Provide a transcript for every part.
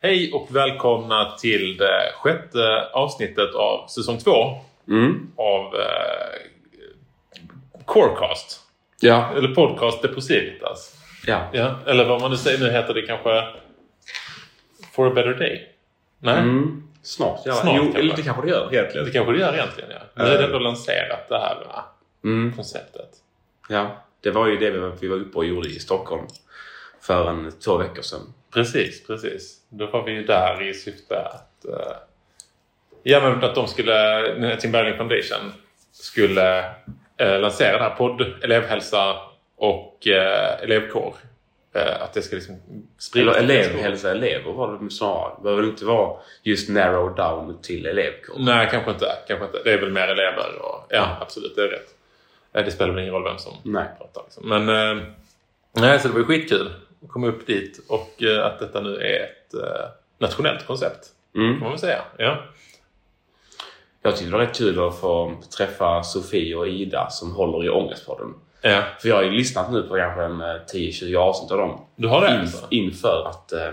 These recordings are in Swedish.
Hej och välkomna till det sjätte avsnittet av säsong två Mm. av eh, Corecast. Ja. Eller Podcast Depositas. ja. Ja, eller vad man nu säger. Nu heter det kanske For a better day. Nej, Mm. Snart, ja. Snart, jo, kanske. eller det kanske det gör det egentligen. kanske det gör egentligen. Ja. Nu är det ändå lanserat det här va, Mm. konceptet. Ja. Det var ju det vi var- vi var uppe och gjorde i Stockholm för en två veckor sedan. Precis, precis. Då var vi ju där i syfte att... eh, ja, men att de skulle... Tim Bergling Foundation skulle eh, lansera det här podd, elevhälsa och eh, elevkår. Eh, att det ska liksom Eller spridas. till elev, skolor. hälsa elever var det snarare. Det behöver väl inte vara just narrow down till elevkår. Nej, kanske inte, kanske inte. Det är väl mer elever och... Ja, absolut. Det är rätt. Eh, det spelar väl ingen roll vem som Nej. pratar. Liksom. Men... Eh, nej, så det var ju skitkul att komma upp dit och eh, att detta nu är ett eh, nationellt koncept. Kan Mm. man väl säga. Ja. Jag tyckte det var rätt kul att få träffa Sofie och Ida som håller i Ångestpodden. ja. För jag har ju lyssnat nu på kanske en eh, 10-20 avsnitt av dem. Du har det? Inf- alltså? inför att eh,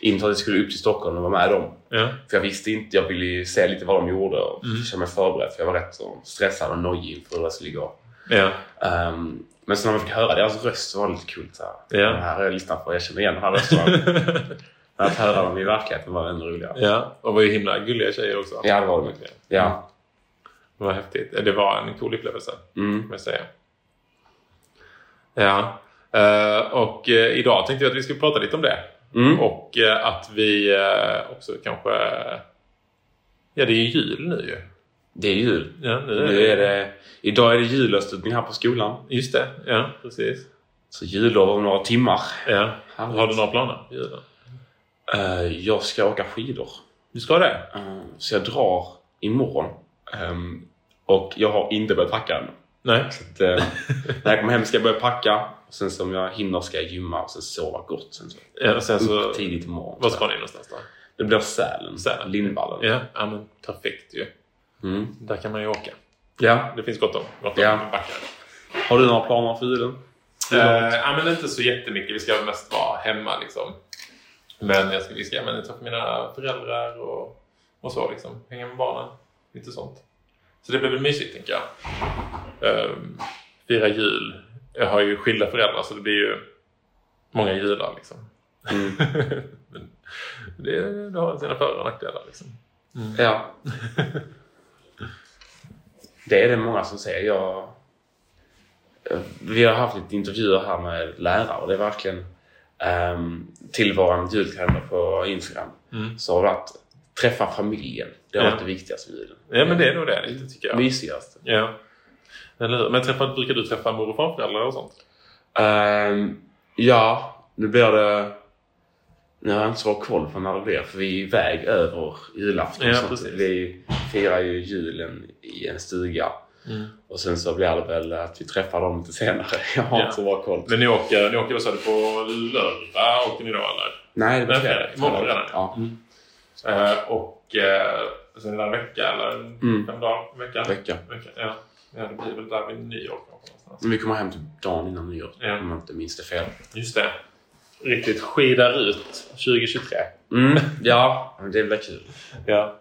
inför att vi skulle upp till Stockholm och vara med dem. Ja. För jag visste inte, jag ville ju se lite vad de gjorde och känna mig förberedd för jag var rätt så stressad och nojig inför hur det skulle gå. Ja. Ehm, men sen när man fick höra deras röst så var det lite kul. Så här. Ja. Den här har jag lyssnat på, jag känner igen den här rösten. Men att höra dem i verkligheten var ännu roligare. ja. Och var ju himla gulliga tjejer också. Ja, det var det. Ja. Det var häftigt. Det var en cool upplevelse, Mm. får jag säga. Ja. Eh, och eh, idag tänkte jag att vi skulle prata lite om det. Mm. Och eh, att vi eh, också kanske... Ja, det är ju jul nu ju. Det är jul. Ja, nu Nu är det, idag är det julavslutning här på skolan. Just det. Ja, precis. Så jullov om några timmar. Ja. Härligt. Har du några planer? för julen? Eh, jag ska åka skidor. Du ska det? Eh, så jag drar imorgon. Ehm, och jag har inte börjat packa än. Nej. Så, eh, när jag kommer hem ska jag börja packa. Och sen som jag hinner ska jag gymma och sen sova gott. Sen så, Ja, och sen så... upp tidigt imorgon. Var ska ni någonstans då? Det blir Sälen. Sälen. Lindvallen. Ja, ja men perfekt ju. Mm. Där kan man ju åka. Ja. Det finns gott om, gott om Ja. backar. Har du några planer för julen? Eh, ja, men inte så jättemycket. Vi ska mest vara hemma. Liksom. Men jag ska, vi ska men, träffa mina föräldrar och, och så. Liksom. Hänga med barnen. Lite sånt. Så det blir väl mysigt, tänker jag. Eh, fira jul. Jag har ju skilda föräldrar, så det blir ju många jular. Liksom. Mm. men det, det har sina för och nackdelar. Liksom. Ja. Det är det många som säger. Jag, eh, vi har haft lite intervjuer här med lärare och det är verkligen um, till vår julkalender på Instagram Mm. så har det varit träffa familjen. Det har Ja. varit det viktigaste med julen. Ja, men det är nog det lite, tycker jag. Mysigaste. Ja. Eller hur? Men träffa, brukar du träffa mor och farföräldrar och sånt? Ehm, ja, nu blir det... Nu har jag inte så bra koll på när det blir för vi är iväg över julafton. Ja, och sånt. precis. vi firar ju julen i en stuga. Mm. Och sen så blir det väl att vi träffar dem lite senare. Jag har Ja. inte så bra koll. Men ni åker, ni åker vad sa du, på lördag åker ni då eller? Nej, det blir Men fredag. fredag. Imorgon redan, Ja. mm, Eh, och eh, sen en vecka eller Mm. fem dagar? Vecka? Vecka. vecka ja. ja, det blir väl där vid nyår kanske någonstans. Men vi kommer hem typ dagen innan nyår. Ja. Om jag inte minns det fel. Just det. Riktigt skidar ut 2023. Mm. Ja, men det blir kul. Ja.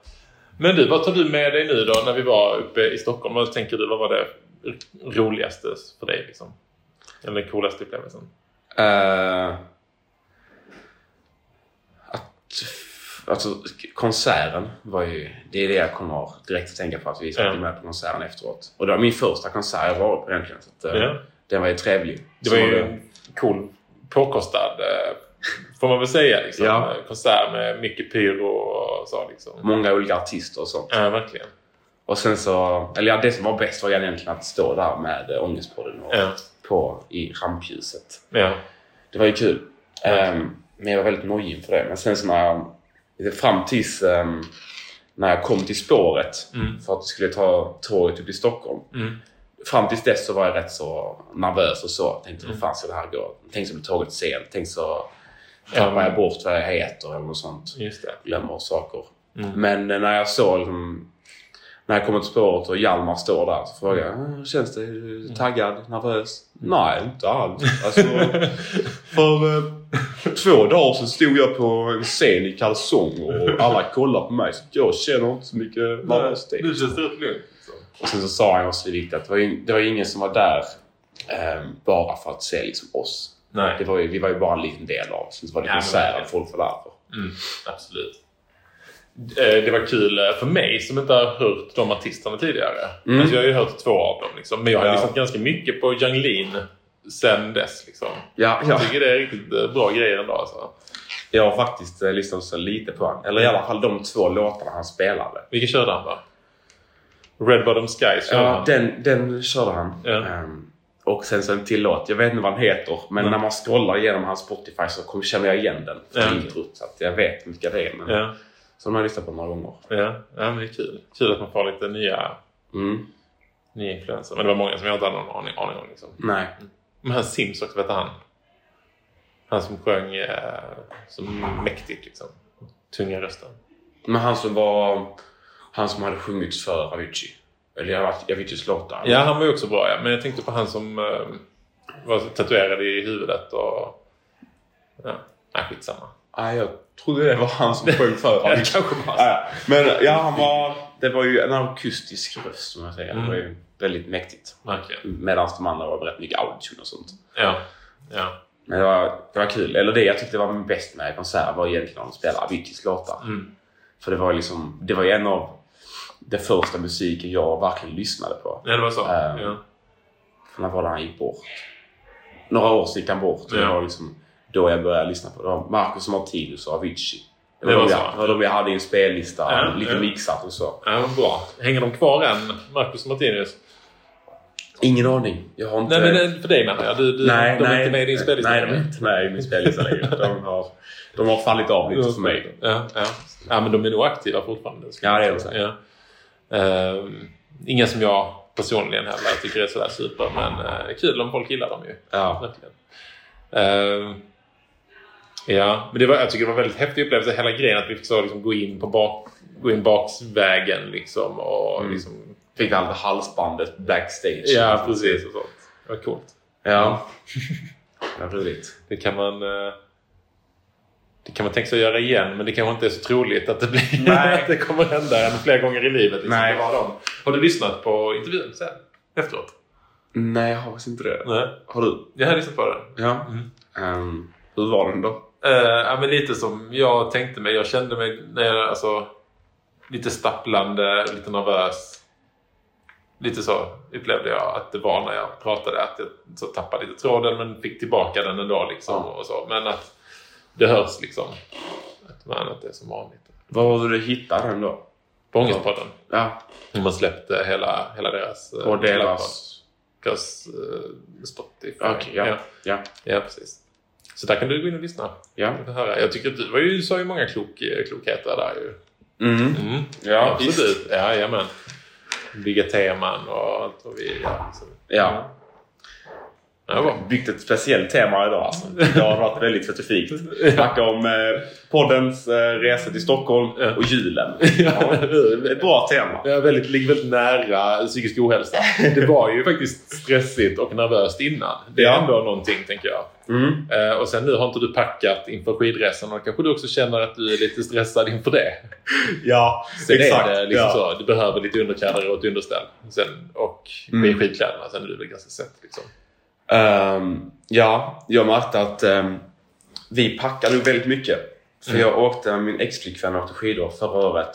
Men du, vad tar du med dig nu då när vi var uppe i Stockholm? Vad tänker du, vad var det roligaste för dig? Liksom? Eller coolaste upplevelsen? Eh, att, alltså, konserten var ju... Det är det jag kommer direkt att tänka på. Att vi ska Ja. bli med på konserten efteråt. Och det var min första konsert jag varit på egentligen. Så att, eh, Ja. Den var ju trevlig. Det Så var ju en cool påkostad, eh, får man väl säga, liksom. Ja. Mm. Eh, konsert med mycket pyro och så. Liksom. många olika artister och sånt. Ja, verkligen. Och sen så, eller ja, det som var bäst var egentligen att stå där med eh, Ångestpodden och Ja. på i rampljuset. Ja. Det var ju kul. Verkligen. Ehm, men jag var väldigt nojig inför det. Men sen så när jag, fram tills ehm, när jag kom till spåret Mm. för att jag skulle ta tåget upp till Stockholm. Mm. Fram tills dess så var jag rätt så nervös och så. Tänkte hur fan ska det här gå? Tänk så blir tåget sent. Tänk så tappar jag bort vad jag heter eller något sånt. Just det. Glömmer saker. Mm. Men eh, när jag såg liksom, när jag kom till spåret och Hjalmar står där så frågade jag "Ah, hur känns det? Är du taggad? Nervös? Nej, inte alls. Alltså, för eh, Två dagar sedan stod jag på en scen i kalsonger och alla kollade på mig. Så jag känner inte så mycket typ. nervositet. Nu känns det rätt lugnt. liksom. Och sen så sa han också det viktiga att det var ju, det var ju ingen som var där ehm, bara för att se liksom oss. Det Nej, var ju, vi var ju bara en liten del av Sen så var det Ja, men konserten verkligen. folk var där för. Mm. absolut. Eh, Det var kul eh, för mig som inte har hört de artisterna tidigare. Mm. Alltså jag har ju hört två av dem. Liksom. Men jag har Ja. lyssnat ganska mycket på Janglin sen dess. Liksom. Ja, Jag tycker det är riktigt eh, bra grejer ändå. Alltså. Jag har faktiskt eh, lyssnat så lite på han. Eller i alla fall de två låtarna han spelade. Vilken körde han va? Red Bottom Skies körde Ja, han. den, den körde han. Ja. Ehm, och sen så en till låt. Jag vet inte vad den heter. Men Nej. när man scrollar igenom hans Spotify så kommer, känner jag igen den. Från Ja. introt. Så att jag vet vilka det är. Men Ja, Som jag har lyssnat på några gånger. ja. ja, men det är kul. Kul att man får lite nya, Mm. nya influenser. Men det var många som jag inte hade någon aning, aning om. Liksom. Nej. Men han Sims också, vet han? Han som sjöng eh, som mäktigt liksom. Tunga rösten. Men han som var... Han som hade sjungit för Avicii. Eller jag vet- Aviciis låtar. Ja, han var ju också bra ja. Men jag tänkte på han som eh, var tatuerad i huvudet och... Ja, nej, skitsamma. Ah, jag trodde det var han som sjöng för Ja, det Avicii. kanske var Ah, han. ja. Men ja, han var... Det var ju en akustisk röst som jag säger. Det var ju väldigt mäktigt. Verkligen. Medan de andra var rätt mycket autotune och sånt. Ja. Ja. Men det var, det var kul. Eller det jag tyckte var bäst med konserten var egentligen när de spelade Aviciis låtar. Mm. För det var, liksom, det var ju en av den första musiken jag verkligen lyssnade på. ja, det var så. Ehm. Ja. För när var det han gick bort? Några år sedan gick han bort. Och Det Ja. var liksom då jag började lyssna på det. det. var Marcus Martinus och Avicii. Det var, Det var de så. jag, det var de jag hade i en spellista. Ja, lite ja. mixat och så. ja, men bra. Hänger de kvar än, Marcus och Martinus? Ingen aning. Jag har inte... Nej, men eh, för dig menar jag. Du, du, nej, de är nej, inte med i din spellista Nej, de längre. är inte med i min spellista längre. De har, de har fallit av lite för mig. Ja, ja. ja, men de är nog aktiva fortfarande. skulle Ja, det är jag de säga. Ja. Ehm, inga som jag personligen heller tycker är sådär super, men eh, kul om folk gillar dem ju. Ja. Verkligen. Ehm, ja, men det var, jag tycker det var en väldigt häftig upplevelse, hela grejen att vi fick så liksom gå in på bak, gå in baksvägen liksom och Mm. liksom, Fick allt halsbandet backstage. ja precis och sånt. Det var coolt. Ja. Det var roligt. Det kan man eh, det kan man tänka sig att göra igen men det kanske inte är så troligt att det, blir, Nej. att det kommer hända en flera gånger i livet. Liksom. Nej. Det var dem. Har du lyssnat på intervjun sen? Efteråt? Nej, jag har faktiskt inte det. Nej. Har du? Jag har lyssnat på den. Ja. Mm. Ehm, hur var den då? Eh, ja, men lite som jag tänkte mig. Jag kände mig när jag, alltså, lite stapplande, lite nervös. Lite så upplevde jag att det var när jag pratade. Att jag så tappade lite tråden men fick tillbaka den ändå. Liksom, Ja. och så. Men att det hörs liksom. Att, man, att det är som vanligt. Var har du hittat den då? På Ångestpodden. Ja, De har släppt eh, hela, hela deras... eh, på Clubhouse deras... Plus eh, Spotify. Okej, ja. ja. Ja. ja. Ja, precis. Så där kan du gå in och lyssna. ja. och höra. Jag tycker att du var ju, sa ju många klok, eh, klokheter där ju. Mm. Mm, Ja, absolut. Ja, jajamän. Bygga teman och allt vad vi gör. liksom. Ja. Ja, bra. Byggt ett speciellt tema idag alltså. Det har varit väldigt specifikt. Snacka om eh, poddens eh, resa till Stockholm och julen. Ja. Ett bra tema. Jag är väldigt, ligger väldigt nära psykisk ohälsa. Det var ju faktiskt stressigt och nervöst innan. Det är Ja. ändå någonting, tänker jag. Mm. Eh, Och sen nu har inte du packat inför skidresan och kanske du också känner att du är lite stressad inför det. Ja, Sen exakt. är det liksom ja. så, du behöver lite underkläder och ett underställ. Sen, och Mm. med skidkläderna, sen är du väl ganska sett. Liksom. Ehm, ja, jag märkte att ehm, vi packade nog väldigt mycket. För Mm. jag åkte med min ex-flickvän och åkte skidor förra året.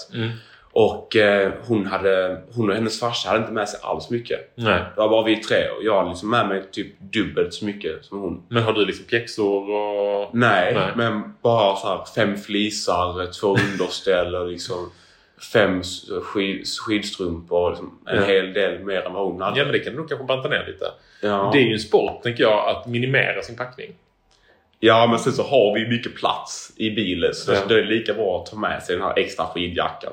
Och eh, hon, hade, hon och hennes farsa hade inte med sig alls mycket. Nej. Det var bara vi tre och jag hade liksom med mig typ dubbelt så mycket som hon. Men har du liksom pjäxor och... Nej, Nej. men bara så här fem flisar, två underställ och liksom fem s- skid, skidstrumpor. Liksom en Ja. hel del mer än vad hon hade. Ja, men det kan du nog kanske banta ner lite. Ja. Det är ju en sport, tänker jag, att minimera sin packning. Ja, men sen så har vi mycket plats i bilen så Ja. det är lika bra att ta med sig den här extra skidjackan.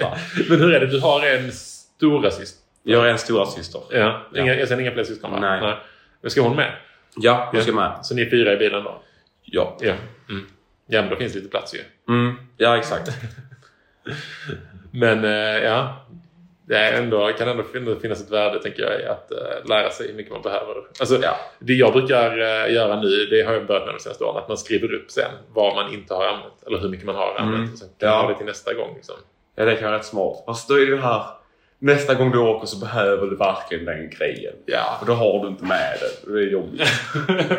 Fan. men hur är det? Du har en stora syster. Jag är en stora syster. Ja. Ja. Inga, sen inga fler syskon, va? Nej. Men ska hon med? Ja, jag ska med. Så ni är fyra i bilen då? Ja, Ja. Mm. Ja, men då finns det lite plats ju. mm. ja exakt. Men eh, ja, det är ändå, kan ändå fin- finnas ett värde tänker jag i att eh, lära sig hur mycket man behöver. Alltså, Det jag brukar eh, göra nu, det har jag börjat med de senaste åren, att man skriver upp sen vad man inte har använt eller hur mycket man har använt. Mm. Och sen kan man Ja. ha det till nästa gång. Liksom. Ja, det kan vara rätt smart. Fast då är det ju här, nästa gång du åker så behöver du verkligen den grejen. Ja. Och då har du inte med den. Det är jobbigt.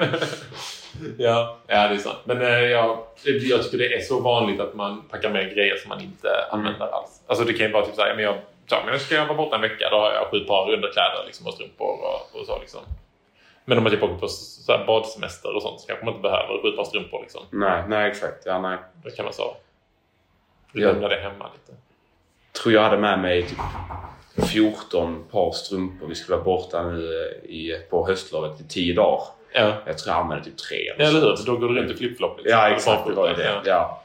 ja. ja, det är sant. Men eh, jag, jag tycker det är så vanligt att man packar med grejer som man inte använder alls. Alltså det kan ju vara typ så här, men jag, så, men jag ska jag vara borta en vecka, då har jag sju par underkläder liksom, och strumpor och, och så. Liksom. Men om man typ åker på så här badsemester och sånt så kanske man inte behöver sju par strumpor. Liksom. Nej, nej exakt. Ja, nej. Då kan man så Ja. lämna det hemma lite. tror jag hade med mig typ 14 par strumpor. Vi skulle vara borta nu eh, i, på höstlovet i 10 dagar. Ja. Jag tror jag använde typ tre. eller Ja, så. eller hur? Så då går du runt i flipflop. Liksom. Ja, Eller exakt. Det var ju barfota. det. Ja. Ja.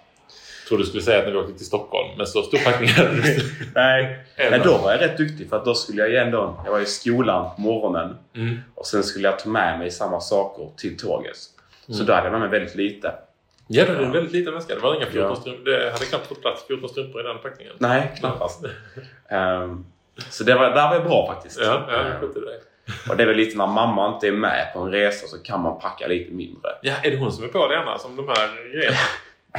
Jag trodde du skulle säga att när vi åkte till Stockholm, men så stor packning hade du inte. Nej, men då var jag rätt duktig för att då skulle jag igen då, jag var i skolan på morgonen Mm. och sen skulle jag ta med mig samma saker till tåget. Så Mm. där hade jag med mig väldigt lite. Ja, det var en väldigt liten väska. Det var inga 14 Ja. strumpor. Det hade knappt fått plats 14 strumpor i den packningen. Nej, knappast. Ehm, så det var, där var jag bra faktiskt. Ja, ja, jag Ehm, skjuter dig. och det är väl lite när mamma inte är med på en resa så kan man packa lite mindre. Ja, är det hon som är på det annars? Om de här grejerna?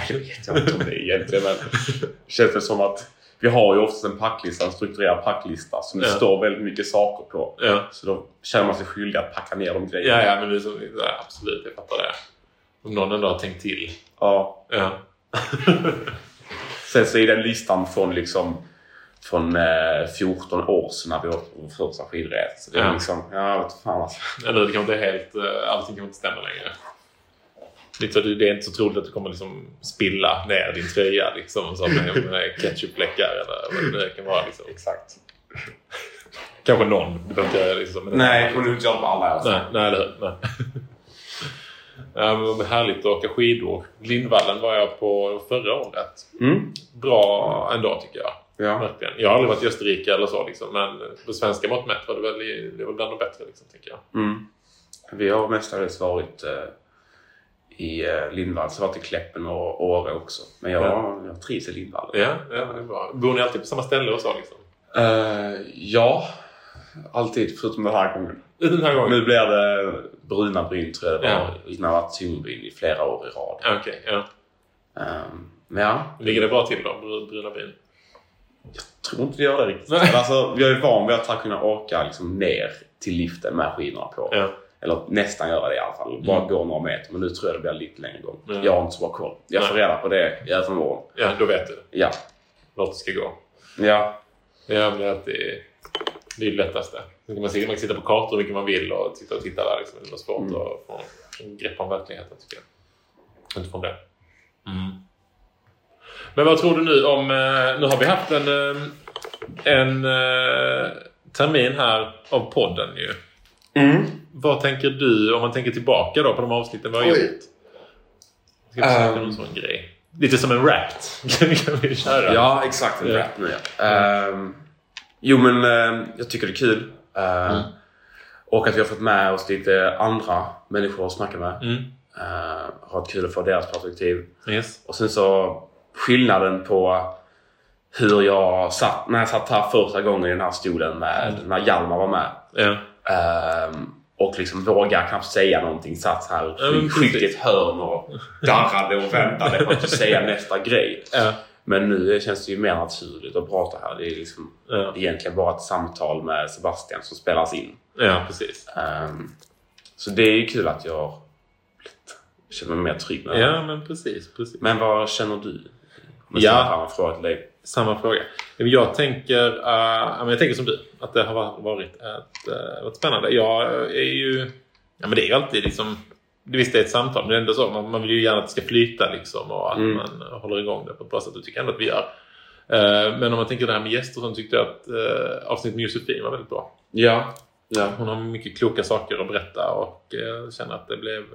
Jag vet inte om det är egentligen men det känns det som att vi har ju oftast en packlista, en strukturerad packlista som det Ja. står väldigt mycket saker på. Ja, Så då känner man sig skyldig att packa ner de grejerna. ja, ja men det är så, ja, absolut. Jag fattar det. Om någon ändå har tänkt till. Ja. Ja. Sen så är den listan från liksom från eh, 14 år sedan när vi åkte på vår första skidresa. Så det är Ja. liksom, ja vet fan alltså. Eller det kanske inte är helt... eh, Allting kanske inte stämmer längre. Lite så, det det är inte så troligt att du kommer liksom spilla ner din tröja liksom, och så med, med ketchupfläckar eller vad det nu kan vara. Liksom. Exakt. Kanske någon. Det behöver inte jag göra. Liksom, men- Nej, och nu inte jag på alla alltså. i alla fall. Nej, nej, eller hur? Nej. Ja, men vad härligt att åka skidor. Lindvallen var jag på förra året. Mm. Bra ändå tycker jag. Ja. Verkligen. Jag har aldrig varit i Österrike eller så liksom, men på svenska mått mätt var det väl, det var bland de bättre liksom, tänker jag. Mm. Vi har mestadels varit eh, i eh, Lindvallen, så har jag varit i Kläppen och Åre också. Men jag, Ja. jag trivs i Lindvallen. Ja, ja men det är bra. Bor ni alltid på samma ställe och så liksom? Eh, ja, alltid förutom den här gången. Den här gången? Nu blir det Bruna Bryn tror jag det var. Ja. Innan har det varit Tornbyn i flera år i rad. Ja, Okej, ja. Ehm, men ja, Ligger det bra till då, Br- Bruna byn? jag tror inte vi gör det riktigt. Nej. Men alltså, vi är ju van vid att kunna åka liksom ner till liften med skidorna på. Ja. Mm. Eller nästan göra det i alla fall. Bara gå några meter. Men nu tror jag det blir lite längre gång. Ja. Jag har inte så bra koll. Jag får Nej. reda på det i övermorgon. ja, då vet du Ja. vart du ska gå. ja. Ja, men det är alltid det, är det lättaste. Sen kan man, se, man kan sitta på kartor hur mycket man vill och titta och titta där. Liksom. Det är svårt Mm. att få en grepp om verkligheten tycker jag. Utifrån det. Mm. Men vad tror du nu om... eh, Nu har vi haft en, eh, en eh, termin här av podden ju. Mm. Vad tänker du om man tänker tillbaka då på de avsnitten vi har Oj. gjort? Ska vi försöka Ehm. någon sån grej? Lite som en rap kan vi köra. Ja, exakt. En Ja. rap nu ja. Ehm, Jo men ehm, jag tycker det är kul. Ehm, Mm. Och att vi har fått med oss lite andra människor att snacka med. Mm. Ehm, har varit kul att få deras perspektiv. Yes. Och sen så skillnaden på hur jag satt när jag satt här första gången i den här stolen med Mm. när Hjalmar var med. Ja. Ehm, och liksom vågar knappt säga någonting. Satt här Ja, men sky- skyggt i precis. ett hörn och darrade och väntade på att säga nästa grej. Ja. Men nu känns det ju mer naturligt att prata här. Det är liksom Ja. egentligen bara ett samtal med Sebastian som spelas in. ja, precis. Ehm, så det är ju kul att jag har blivit- känner mig mer trygg med det. Ja, men precis. precis. Men vad känner du? Om Ja. jag ställer fram en fråga till dig. Samma fråga. Ja, men Jag tänker, eh, ja, men jag tänker som du, att det har va- varit, ett, eh, varit spännande. Jag är ju... Ja, men det är ju alltid liksom... det- Visst, det är ett samtal, men det är ändå så. Man, man vill ju gärna att det ska flyta liksom, och att Mm. man håller igång det på ett bra sätt. Det tycker jag ändå att vi gör. Eh, Men om man tänker det här med gäster så tyckte jag att eh, avsnittet med Josefin var väldigt bra. Ja. ja. Hon har mycket kloka saker att berätta och eh, känner att det blev... eh,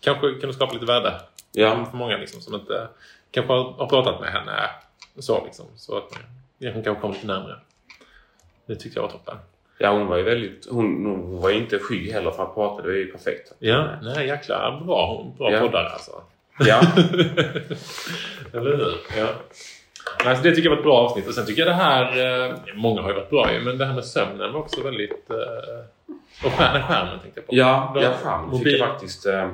Kanske kunde skapa lite värde ja. för många liksom, som inte kanske har har pratat med henne. Så, liksom, så att ja, hon kanske kommer lite närmare. Det tyckte jag var toppen. Ja, hon var ju väldigt... Hon, hon var ju inte sky heller för att prata. Det var ju perfekt. Ja, nej jäklar. Bra, bra Ja. poddar alltså. Ja. Eller hur? Ja. Nej, så det tycker jag var ett bra avsnitt. Och sen tycker jag det här... Eh, många har ju varit bra ju, men det här med sömnen var också väldigt... Eh, och skärmen, skärmen tänkte jag på. Ja, Bra. ja fan. Fick Mobil. jag faktiskt eh,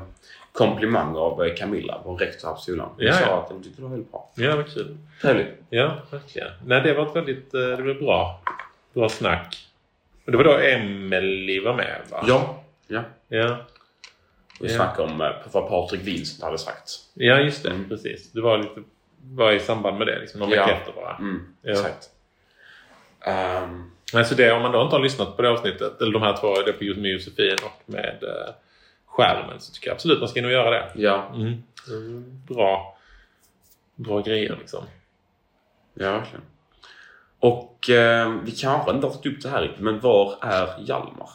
komplimang av eh, Camilla, vår rektor här på skolan. Hon Ja, sa ja. att hon tyckte det var väldigt bra. Ja, vad kul. Trevligt. Ja, verkligen. Nej, det var ett väldigt... eh, Det blev bra. Bra snack. Och det var då Emelie var med, va? Ja. ja. Ja, Vi Ja. snackade om eh, vad Patrik Vincent hade sagt. ja just det. Mm. Precis. Du var lite... Var i samband med det, liksom, någon vecka Ja. efter bara. Mm, Ja. Exakt. Ehm, Nej, så det, om man då inte har lyssnat på det avsnittet, eller de här två, det på just med Josefin och med eh, skärmen, så tycker jag absolut man ska nog göra det. ja. Mm. Det är Bra, bra grejer liksom. ja, verkligen. Och eh, vi kanske inte har tagit upp det här riktigt, men var är Hjalmar?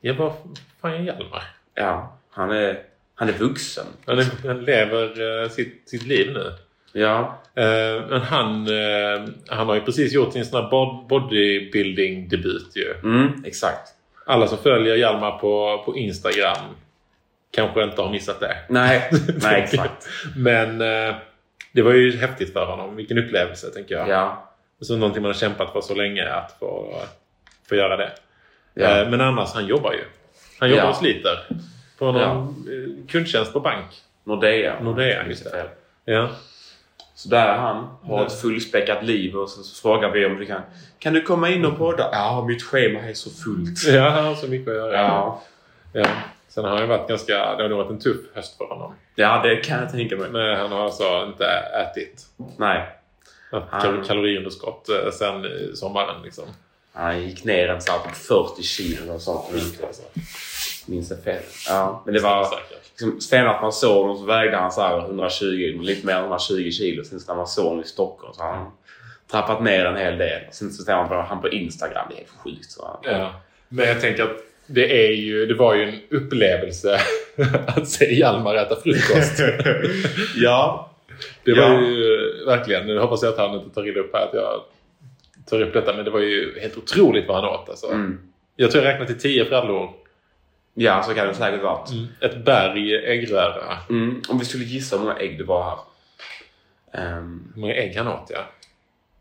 Jag bara, fan är Hjalmar? Ja, han är, han är vuxen. Han, är, han lever eh, sitt, sitt liv nu. Ja, Eh, men han, eh, han har ju precis gjort sin sån här bod- bodybuilding-debut ju. mm, exakt. Alla som följer Hjalmar på, på Instagram kanske inte har missat det. Nej, nej exakt. Men eh, det var ju häftigt för honom. Vilken upplevelse tänker jag. Ja, Så någonting man har kämpat för så länge att få, få göra det. ja. Eh, Men annars, han jobbar ju. Han jobbar Ja. och sliter. På någon eh, kundtjänst på bank. Nordea. Nordea, just det. Ja. Så där är han, har ett fullspäckat liv och så, så frågar vi om du kan Kan du komma in och podda? Ja, mitt schema är så fullt. ja, han har så mycket att göra. Ja, Ja. Sen har han ju varit ganska... Det har nog varit en tuff höst för honom. ja det kan jag tänka mig. Men han har alltså inte ätit. Nej, Haft Han- kal- kaloriunderskott eh, sen eh, sommaren liksom. han gick ner en så här på 40 kilo eller sånt. Minns jag fel? Ja, men det var Säkert. liksom, sen att man såg honom så vägde han så här 120, lite mer än 120 kilo. Sen så när man såg honom i Stockholm så har han trappat ner en hel del. Sen så ser man på han på Instagram, det är helt sjukt. Så han, Ja. Men jag tänker att det, är ju, det var ju en upplevelse att se Hjalmar äta frukost. ja. Det var Ja. ju verkligen, nu hoppas jag att han inte tar illa upp här att jag tar upp detta, men det var ju helt otroligt vad han åt. Alltså. Mm. Jag tror jag räknade till tio frallor, ja, så kan det säkert vara. ett berg äggröra. Mm, om vi skulle gissa hur många ägg det var här. Ehm, Hur många ägg han åt, ja.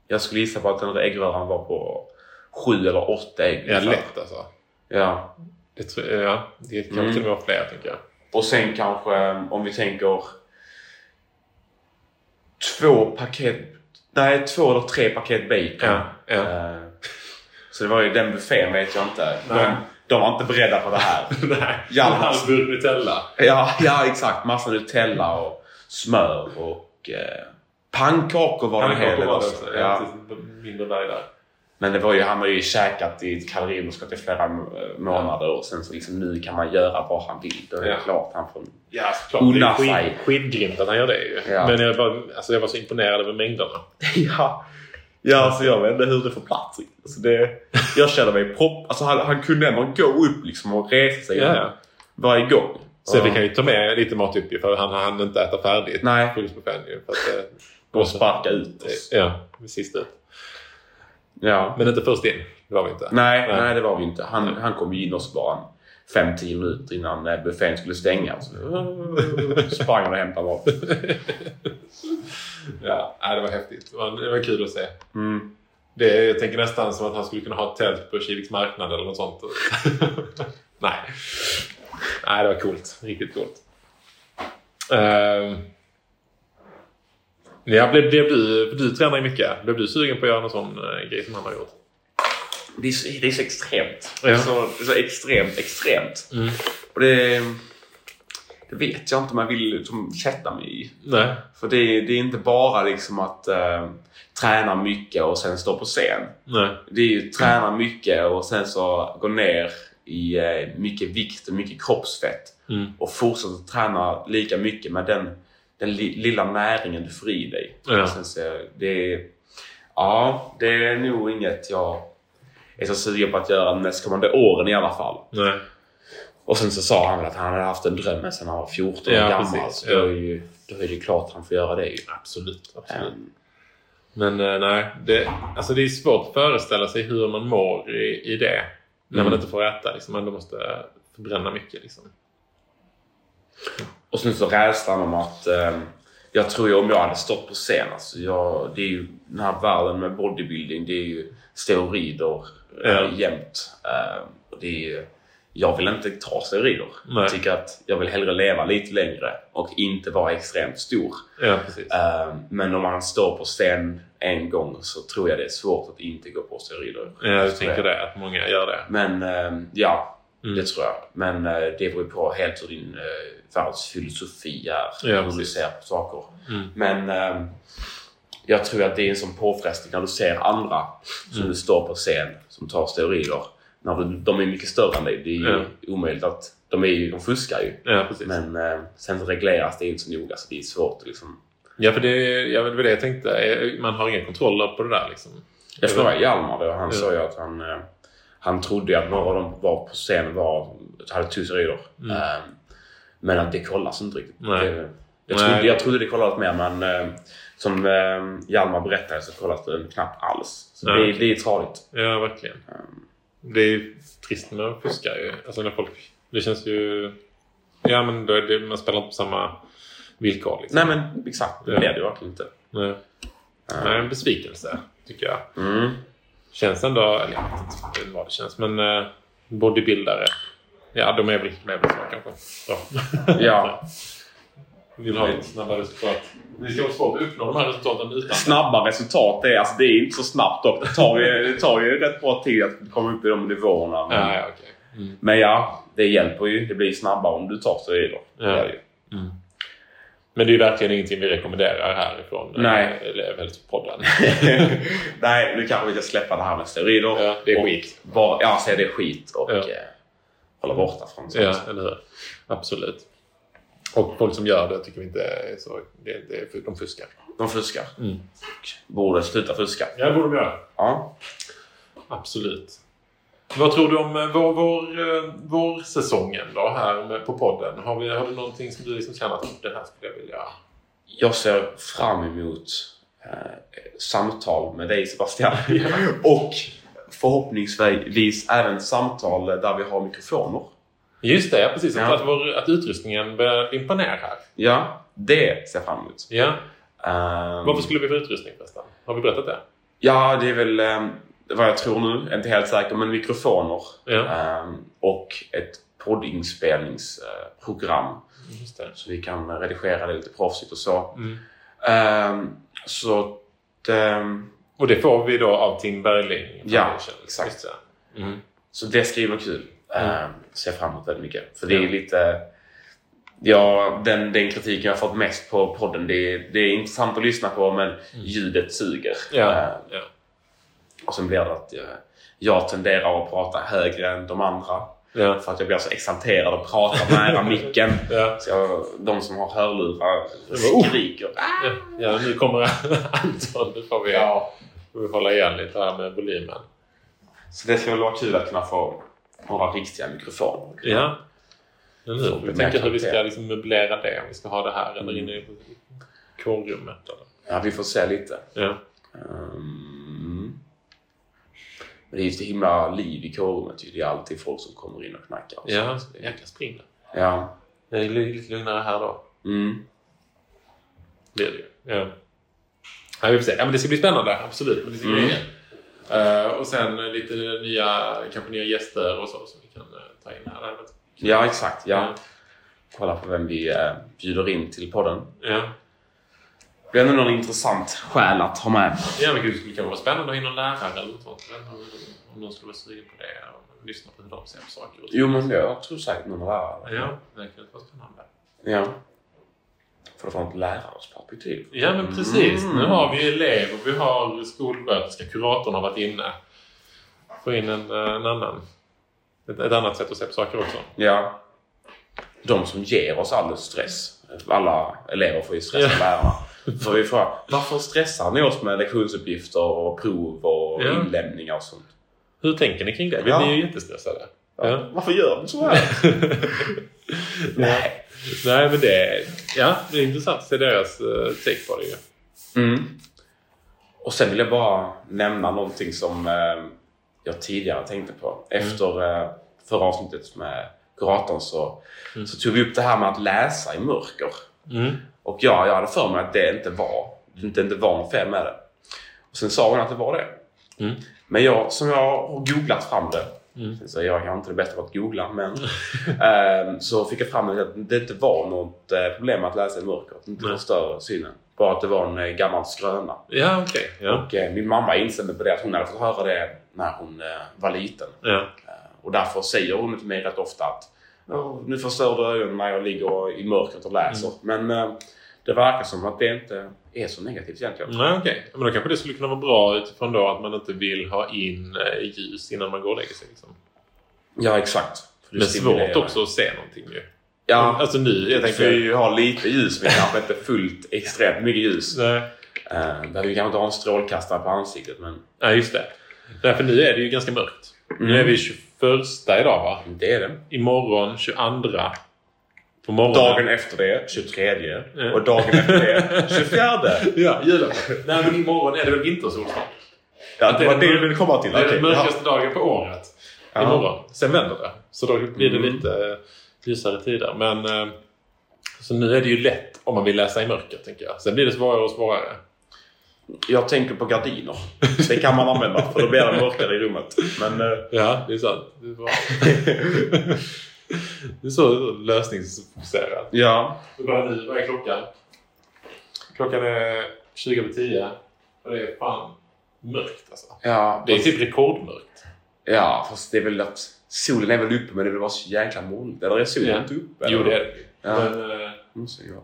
jag skulle gissa på att den där äggröran var på sju eller åtta ägg. Ja, ungefär. lätt alltså. Ja. Det, tror, ja, det kan Mm. till och med vara fler, tänker jag. Och sen kanske ehm, om vi tänker två paket, nej två eller tre paket bacon. Ja, ja. Ehm, så det var ju den buffén vet jag inte. Nej. De, de var inte beredda på det här. Nej, Hjalmar. halvburk Nutella. ja, ja, exakt. Massa Nutella och smör och eh, pannkakor var det Pannkakor hela var det också. också. Ja. Ja. precis. Mindre berg där. Men det var ju, han har ju käkat i ett kaloriunderskott i flera eh, månader och sen så liksom nu kan man göra vad han vill. Då är det Ja. klart han får... Ja, såklart. Det är Unna skit, sig. skitgrymt att han gör det ju. Ja. Men jag var, alltså, jag var så imponerad över mängderna. ja. Ja, alltså jag vet inte hur det får plats riktigt. Alltså det, jag känner mig propp... Alltså han, han kunde ändå gå upp liksom och resa sig Ja, ja. varje gång. Så Ja. vi kan ju ta med lite mat upp ju, för han hann inte äta färdigt. Nej. Fullspäffan ju. För att, Och sparka ut oss. eh, ja, sist ut. Ja. Men inte först in. Det var vi inte. Nej, Nej. nej, det var vi inte. Han, han kom ju in oss bara en 5-10 minuter innan eh, buffén skulle stänga. Så eh, sprang han och hämtade mat. Ja, nej, det var häftigt. Det var, det var kul att se. Mm. Det, jag tänker nästan som att han skulle kunna ha ett tält på Kiviks marknad eller något sånt. nej. Nej, det var coolt. Riktigt coolt. Uh, ja, blev, blev du, för du tränar ju mycket. Blev du sugen på att göra någon sån eh, grej som han har gjort? Det är, så, det är så extremt. Ja. Det, är så, det är så extremt, extremt. Mm. Och det, det vet jag inte om jag vill liksom, sätta mig i. Nej. För det är, det är inte bara liksom att eh, träna mycket och sen stå på scen. Nej. Det är ju träna mycket och sen så gå ner i eh, mycket vikt och mycket kroppsfett. Mm. Och fortsätta träna lika mycket med den, den li, lilla näringen du får i dig. Ja. Och Sen så, det, är, ja, det är nog inget jag är så sugen på att göra de nästkommande åren i alla fall. Nej. Och sen så sa han väl att han hade haft en dröm sedan han var 14 år Ja, gammal. precis. Så då är, ju, då är det klart han får göra det ju. Absolut. absolut. Ehm, Men eh, nej, det, alltså det är svårt att föreställa sig hur man mår i, i det. När man Mm. inte får äta. Liksom. Man måste förbränna mycket. Liksom. Och sen så rädslan om att ehm, jag tror ju om jag hade stått på scen, alltså jag, det är ju den här världen med bodybuilding, det är ju steroider Ja. ja. jämt. Eh, och det är ju, jag vill inte ta steroider. Nej. Jag tycker att jag vill hellre leva lite längre och inte vara extremt stor. Ja, precis. Eh, men om man står på scen en gång så tror jag det är svårt att inte gå på steroider. Ja, Eh, jag tänker det, att många gör det. Men eh, ja, Mm. det tror jag. Men eh, det beror ju på helt hur din eh, världsfilosofi är. Ja, hur du precis. ser på saker. Mm. Men eh, jag tror att det är en sån påfrestning när du ser andra som Mm. du står på scen som tar steroider. När du, de är mycket större än dig. Det är ju Ja. omöjligt att... De, är ju, de fuskar ju. Ja, precis. Men eh, sen så regleras det inte så noga så det är svårt att liksom... Ja, för det, ja, men det var det jag tänkte. Eh, Man har ingen kontroll på det där liksom. Jag frågade Hjalmar det och han Ja. sa ju att han, eh, han trodde ju att några av dem var på scen var, hade tusenrider. Mm. Eh, Men att det kollas inte riktigt. Nej. Det, jag, trodde, Nej. jag trodde det kollades mer men eh, som eh, Hjalmar berättade så kollas det knappt alls. Så Nej. det, det är tradigt. Ja, verkligen. Det är ju trist när man fuskar ju. Alltså när folk... Det känns ju... Ja, men då är det, man spelar inte på samma villkor liksom. Nej men exakt, det Ja. blev det ju verkligen inte. Nej. Nej, en besvikelse tycker jag. Mm. Känns ändå... Eller jag vet inte vad det känns, men eh, bodybuildare. Ja, de är väl med på smak kanske. Ja. Ja. Vill ha lite snabbare resultat. Det ska vara svårt att uppnå de här resultaten utan Snabba resultat, det är, alltså, det är inte så snabbt dock. Det tar ju, det tar ju rätt bra tid att komma upp i de nivåerna. Men, Ja, ja, okej. Mm. Men ja, ja, det hjälper ju. Det blir snabbare om du tar steroider. Ja. Mm. Men det är ju verkligen ingenting vi rekommenderar härifrån Nej. Elevhälsopodden. Nej, nu kanske vi ska släppa det här med steroider. Ja, det är Och skit. Bara, ja, alltså, säg det är skit och Ja. eh, hålla borta från sånt. Ja, eller hur? Absolut. Och folk som gör det tycker vi inte är så... Det, det, är- de fuskar. de fuskar. Mm. Borde sluta fuska. Ja, det borde de göra. Ja. Absolut. Vad tror du om eh, vår, vår, eh, vår säsongen då här med, på podden? Har, vi, har du någonting som du liksom känner att det här skulle jag vilja... Jag ser fram emot eh, samtal med dig Sebastian. Och Förhoppningsvis även samtal där vi har mikrofoner. Just det, ja, precis. Ja. Att, vår, att utrustningen börjar dimpa ner här. Ja, det ser jag fram emot. Ja. Ehm, Varför skulle vi få utrustning förresten? Har vi berättat det? Ja, det är väl ehm, vad jag tror nu. Inte helt säker, men mikrofoner. Ja. ehm, och ett poddinspelningsprogram. Just det. Så vi kan redigera det lite proffsigt och så. Mm. Ehm, så att, ehm, Och det får vi då av Tim Bergling Ja, Foundation. exakt. Just det. Mm. Så det ska ju vara kul. Mm. Mm. Ser jag fram emot väldigt mycket. För det är Ja. ju lite... Ja, den, den kritiken jag har fått mest på podden, det är, det är intressant att lyssna på men ljudet suger. Mm. Ja, Ehm, ja. och sen blir det att jag, jag tenderar att prata högre än de andra. Ja. För att jag blir så exalterad och pratar nära micken. Ja. Så Alltså, jag, de som har hörlurar var- oh! skriker. Ah! Ja. ja, nu kommer Anton. Nu får vi, får vi hålla igen lite här med volymen. Så det ska väl vara kul att kunna få några riktiga mikrofoner. Ja. Eller hur? Vi det tänker märks hur vi inte. ska liksom möblera det. Om vi ska ha det här eller inne i kårrummet. Eller. Ja, vi får se lite. Ja. Ehm, Men det är ju så himla liv i kårrummet. ju. Det är alltid folk som kommer in och knackar. och så. ja, jäkla spring. ja. Det är lite lugnare här då. Mm. Det är det ju. Ja. Ja, vi får se. Ja, men det ska bli spännande, absolut. Men det ska bli Mm. Eh, och sen eh, lite nya, kanske nya gäster och så som vi kan eh, ta in här. Det hade varit- ja, exakt. Ja. Kolla på vem vi eh, bjuder in till podden. Ja. Det blir ändå någon intressant själ att ha med. Ja, men gud, det skulle kunna vara spännande att ha in någon lärare eller något sånt. Jag vet inte om- Om någon skulle vara sugen på det och lyssna på hur de ser på saker. och ting. Jo, men jag tror säkert någon lärare. Ja, det kan vara spännande. Ja. För att få ett lärares perspektiv. Ja, men precis. Mm. Nu har vi elever, vi har skolsköterska, kuratorn har varit inne. Få in en, eh, en annan. Ett, ett annat sätt att se på saker också. Ja. De som ger oss all stress. Alla elever får ju stress av lärarna. Får vi fråga, varför stressar ni oss med lektionsuppgifter och prov och Ja. inlämningar och sånt? Hur tänker ni kring det? Vi Ja. blir ju jättestressade. Ja. Varför gör du så här? Nej. Nej, men det, ja, det är intressant att se deras eh, take på det. Ju. Mm. Och sen vill jag bara nämna någonting som eh, jag tidigare tänkte på. Mm. Efter eh, förra avsnittet med kuratorn så, så tog vi upp det här med att läsa i mörker. Mm. Och ja, jag hade för mig att det inte var, inte, inte var något fel med det. Och sen sa hon att det var det. Mm. Men jag, som jag har googlat fram det, Mm. så jag är inte det bästa på att googla, men ehm, så fick jag fram att det inte var något eh, problem att läsa i mörkret, inte Nej. förstöra synen. Bara att det var en eh, gammal skröna. Ja, okej. Ja. Och eh, min mamma instämde på det, att hon hade fått höra det när hon eh, var liten. Ja. Eh, Och därför säger hon till mig rätt ofta att "Ja, nu förstör du ögonen när jag ligger i mörkret och läser. Men eh, det verkar som att det inte är så negativt egentligen. Nej, okej. Men då kanske det skulle kunna vara bra utifrån då att man inte vill ha in eh, ljus innan man går och lägger sig. Liksom. Ja, exakt. För det Men stimulerar. svårt också att se någonting ju. Ja, Alltså nu, jag jag tänker tänker... Mm. ju ha lite ljus men kanske inte fullt extremt mycket ljus. Nej. Eh, Behöver ju kanske inte ha en strålkastare på ansiktet men Ja, just det. Därför nu är det ju ganska mörkt. Nu är vi 21 idag va? det är det. Imorgon 22. På morgonen. Dagen efter det, 23. Mm. Ja. Och dagen efter det, 24. Ja, julafton. Nej, men imorgon är det väl vintersolstal? Ja, det var det du ville komma till. Det är Okej, den mörkaste dagen på året. Imorgon. Sen vänder det. Så då blir det lite eh, ljusare tider. Men, eh, så nu är det ju lätt om man vill läsa i mörker, tänker jag. Sen blir det svårare och svårare. Jag tänker på gardiner. Det kan man använda för då blir det mörkare i rummet. Men eh, Ja, det är sant. Det är, bra. det är så lösningsfokuserat. Ja. Det börjar nu. Vad är klockan? Klockan är 20 över 10. Och det är fan mörkt alltså. Ja, Det är typ rekordmörkt. Ja, fast det är väl att solen är väl uppe men det är väl bara så jäkla molnigt. Eller är solen Ja. inte uppe? Mm, Jo, det är det. Ja. Men eh,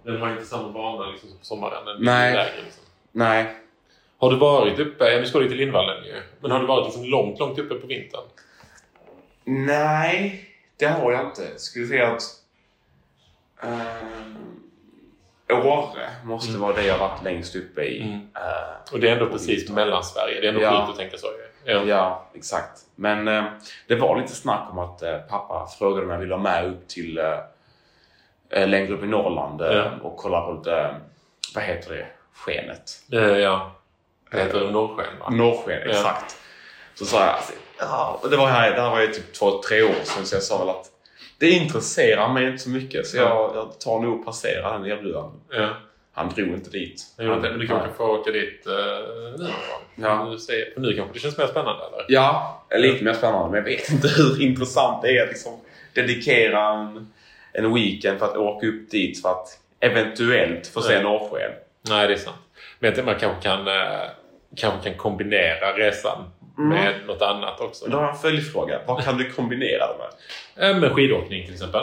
det. den har inte samma bana liksom, som på sommaren. Den är Nej. Lägre, liksom. Nej. Har du varit uppe, ja, nu ska du till Lindvallen ju, men har du varit liksom långt, långt uppe på vintern? Nej, det har jag inte. Skulle säga att ehm, Åre måste vara det jag varit längst uppe i. Mm. Eh, Och det är ändå precis mellan Sverige. Det är ändå Ja. sjukt att tänka så. ju. Ja. Ja, exakt. Men eh, det var lite snack om att eh, pappa frågade om jag ville ha med upp till eh, eh, längre upp i Norrland eh, Ja. och kolla på lite, eh, vad heter det, skenet? Eh, ja. Det heter norrsken va? Norrsken, Ja. exakt. Så sa jag, alltså, ja, och det, var här, det här var ju typ två, tre år sedan så jag sa väl att det intresserar mig inte så mycket så jag, jag tar nog och passerar den erbjudandet. Ja. Han drog inte dit. Jag gjorde inte det, men du kanske Han- får åka dit eh, nu någon Ja. gång. Du säger- För nu kanske det känns mer spännande eller? Ja, lite mer spännande men jag vet inte hur intressant det är att liksom, dedikera en, en weekend för att åka upp dit för att eventuellt få se Ja. norrsken. Nej, det är sant. Men jag tänker man kanske kan, eh, kanske kan kombinera resan med något annat också. Då har jag en följdfråga. Vad kan du kombinera det med? Eh, Med skidåkning till exempel.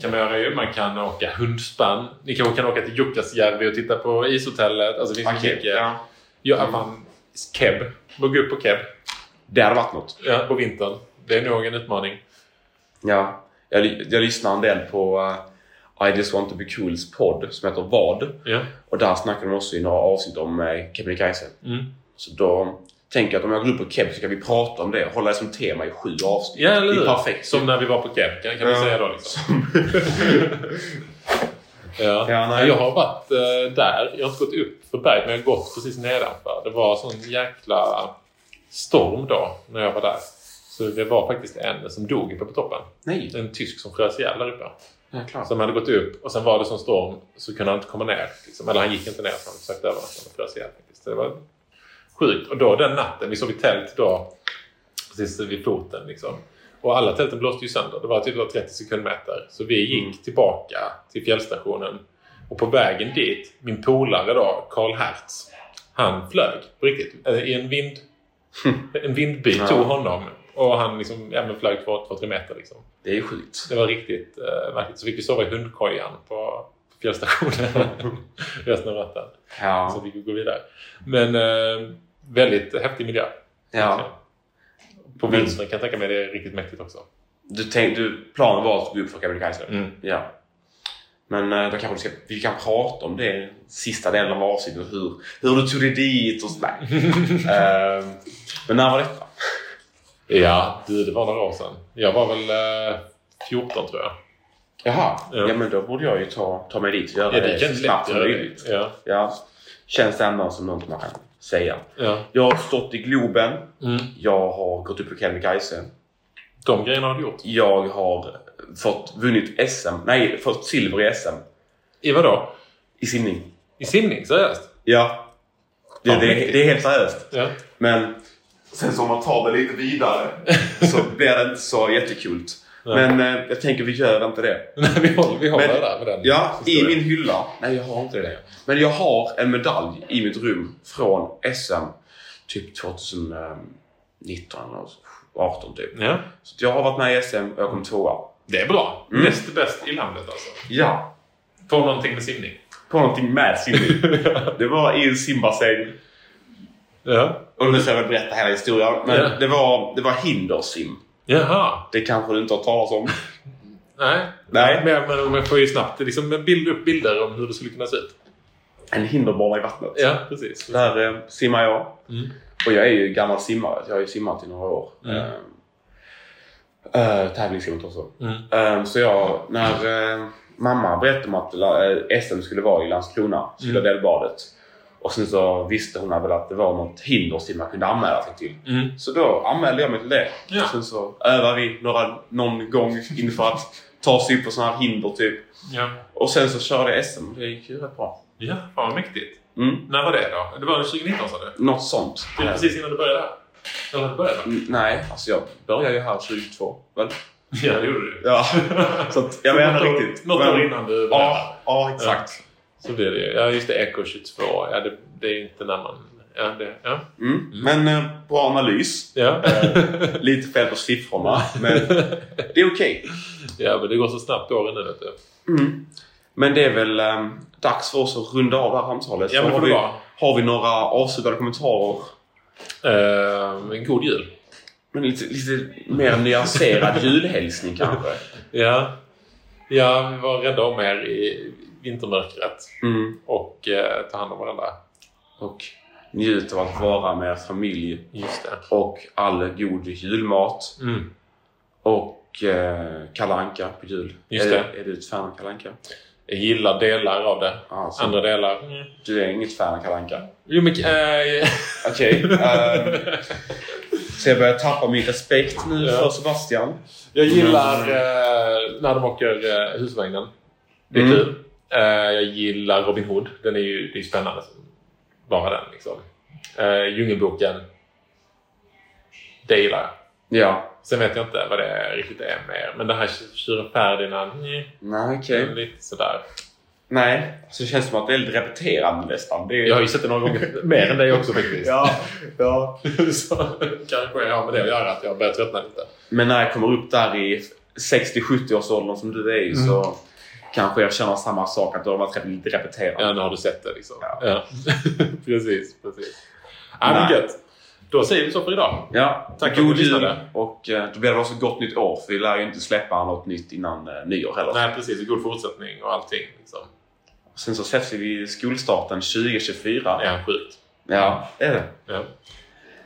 kan man göra ju. Man kan åka hundspann. Ni kanske kan åka till Jukkasjärvi och titta på ishotellet. Alltså det finns ju Okej, mycket. Ja. att man, keb. Man går upp på keb Det hade varit något. ja, på vintern. Det är nog en utmaning. Ja, jag, ly- jag lyssnar en del på eh, I just want to be cools podd som heter Vad. Ja. Och där snackar de också i några avsnitt om eh, Kebnekaise. Mm. Så då tänker jag att om jag går upp på Keb så kan vi prata om det och hålla det som tema i sju avsnitt. ja, eller det hur? är perfekt. Som när vi var på keb kan, kan vi Ja. säga då. Liksom. ja. Ja, nej. Jag har varit eh, där. Jag har inte gått upp för berget, men jag har gått precis nedanför. Det var sån jäkla storm då, när jag var där. Så det var faktiskt en som dog uppe på toppen. Nej, En tysk som frös ihjäl där uppe. ja, klart. Som hade gått upp och sen var det sån storm så kunde han inte komma ner. Liksom. Eller han gick inte ner så han försökte överleva. Han frös ihjäl faktiskt. Det var sjukt. Och då den natten, vi sov i tält då precis vid foten liksom. Och alla tälten blåste ju sönder. Det var typ bara 30 sekundmeter. Så vi gick Mm. tillbaka till fjällstationen. Och på vägen dit, min polare då, Karl Hertz. Han flög på riktigt. Eh, I en vind... En vindby Ja. tog honom. Och han liksom, ja, men flög 2-3 meter liksom. Det är ju sjukt. Det var riktigt eh, märkligt. Så fick vi sova i hundkojan på, på fjällstationen resten av natten. Så Ja. fick vi gå vidare. Men eh, väldigt häftig miljö. ja. På vintern kan jag tänka mig det är riktigt mäktigt också. Du tänk, du, planen var att gå upp för Kebnekaise. Mm. Ja. Men eh, då kanske vi, ska, vi kan prata om det sista delen av avsnittet. Hur, hur du tog dig dit och sådär. Ehm, men när var detta? Ja, du, det var några år sedan. Jag var väl eh, 14 tror jag. Jaha, Ja. ja. men då borde jag ju ta, ta mig dit och göra Ja, det det, kan så snabbt lätt som göra det. möjligt. Ja, Ja. Känns ändå som något man kan säga. ja. Jag har stått i Globen. Mm. Jag har gått upp på Kebnekaise. De grejerna har du gjort. Jag har fått vunnit SM, nej, fått silver i SM. I vadå? I simning. I simning? Seriöst? Ja. Det, Ja, det, mäktigt. det är helt seriöst. Ja. Men sen så om man tar det lite vidare så blir det inte så jättekul. Men eh, jag tänker vi gör inte det. Nej, vi håller, vi håller Men- där med den. Ja, i historien. min hylla. Nej, jag har inte det. Men jag har en medalj i mitt rum från SM typ 2019 eller 18 typ. Ja. Så att jag har varit med i SM och jag kom tvåa. Det är bra. Mm. Näst bäst i landet alltså. Ja, På någonting med simning. på någonting med simning. Det var i en simbassäng. Ja. Och nu ska jag väl berätta hela historien. Men Ja. det, var, det var hindersim. Jaha. Det kanske du inte har hört talas om? Nej. Nej. Men, men man får ju snabbt liksom bilda upp bilder om hur det skulle kunna se ut. En hinderbana i vattnet. Ja, precis. Där eh, simmar jag. Mm. Och jag är ju gammal simmare. Jag har ju simmat i några år. Mm. Mm. Uh, tävlingssimmat också. Mm. Ehm, så jag, när eh, mamma berättade om att la- eh, SM skulle vara i Landskrona, Mm. Cyladelbadet. Och sen så visste hon väl att det var något hinder som man kunde anmäla sig till. Mm. Så då anmälde jag mig till det. Ja. Sen så övade vi några, någon gång inför att ta sig upp på sådana här hinder typ. Ja. Och sen så körde jag SM. Det gick ju rätt bra. ja, fan vad mäktigt. Mm. När var det då? Det var 2019 sa du? Något sånt. Det var precis innan du började här. Eller när du började? va? Mm, Nej, alltså jag började ju här 22 väl? Ja, det gjorde du. Ja, så att jag vet inte Något år- riktigt. Något men- år innan du började. Ja, ja, exakt. Så blir det ju. Ja, just det. Eco 22. Ja, det, det är inte när man... Ja, det, ja. Mm. Men eh, bra analys. Eh, Ja. Lite fel på siffrorna, men det är okej. Mm. ja, men det går så snabbt åren nu vet du. Men det är väl eh, dags för oss att runda av det här samtalet. Ja, men det Så har, får det vi, vara. har vi några avslutande kommentarer? Eh, en god jul. Men lite, lite mer nyanserad julhälsning kanske? Ja. ja, vi var rädda om er i vintermörkret. Mm. Och eh, ta hand om varandra. Och njut av att vara med er familj Just det. och all god julmat. Mm. Och eh, Kalle Anka på jul. Just är, det. är du ett fan av Kalle Anka? Jag gillar delar av det. Alltså, Andra delar... Mm. Du är inget fan av Kalle Anka. Jo, men... eh, Okej. ehm, så jag börjar tappa min respekt nu Ja. för Sebastian. Jag gillar eh, när de åker eh, husvagnen. Det är Mm. kul. Eh, jag gillar Robin Hood. Den är ju det är ju spännande. som Bara den liksom. Eh, Djungelboken. Det gillar jag. Ja. Sen vet jag inte vad det riktigt är mer. Men det här Tjuren Ferdinand. nej, Nej, okej. Lite sådär. Nej. Alltså, det känns som att det är lite repeterande nästan. Det är... Jag har ju sett det några gånger. mer än dig också faktiskt. ja, ja. Så kanske jag har med det att göra att jag börjar tröttna lite. Men när jag kommer upp där i 60-70-årsåldern som du är i Mm. så kanske jag känner samma sak. Att då har varit rep- lite repeterande. Ja, nu har du sett det liksom. Ja. precis, precis. Ja, men Nej. gött. Då säger vi så för idag. Ja, Tack för att god du jul lyssnade. och eh, då blir det också gott nytt år för vi lär ju inte släppa något nytt innan eh, nyår heller. Nej, precis. God fortsättning och allting. Liksom. Sen så ses vi vid skolstarten 2024. Ja, sjukt. Ja, det är det. Ja.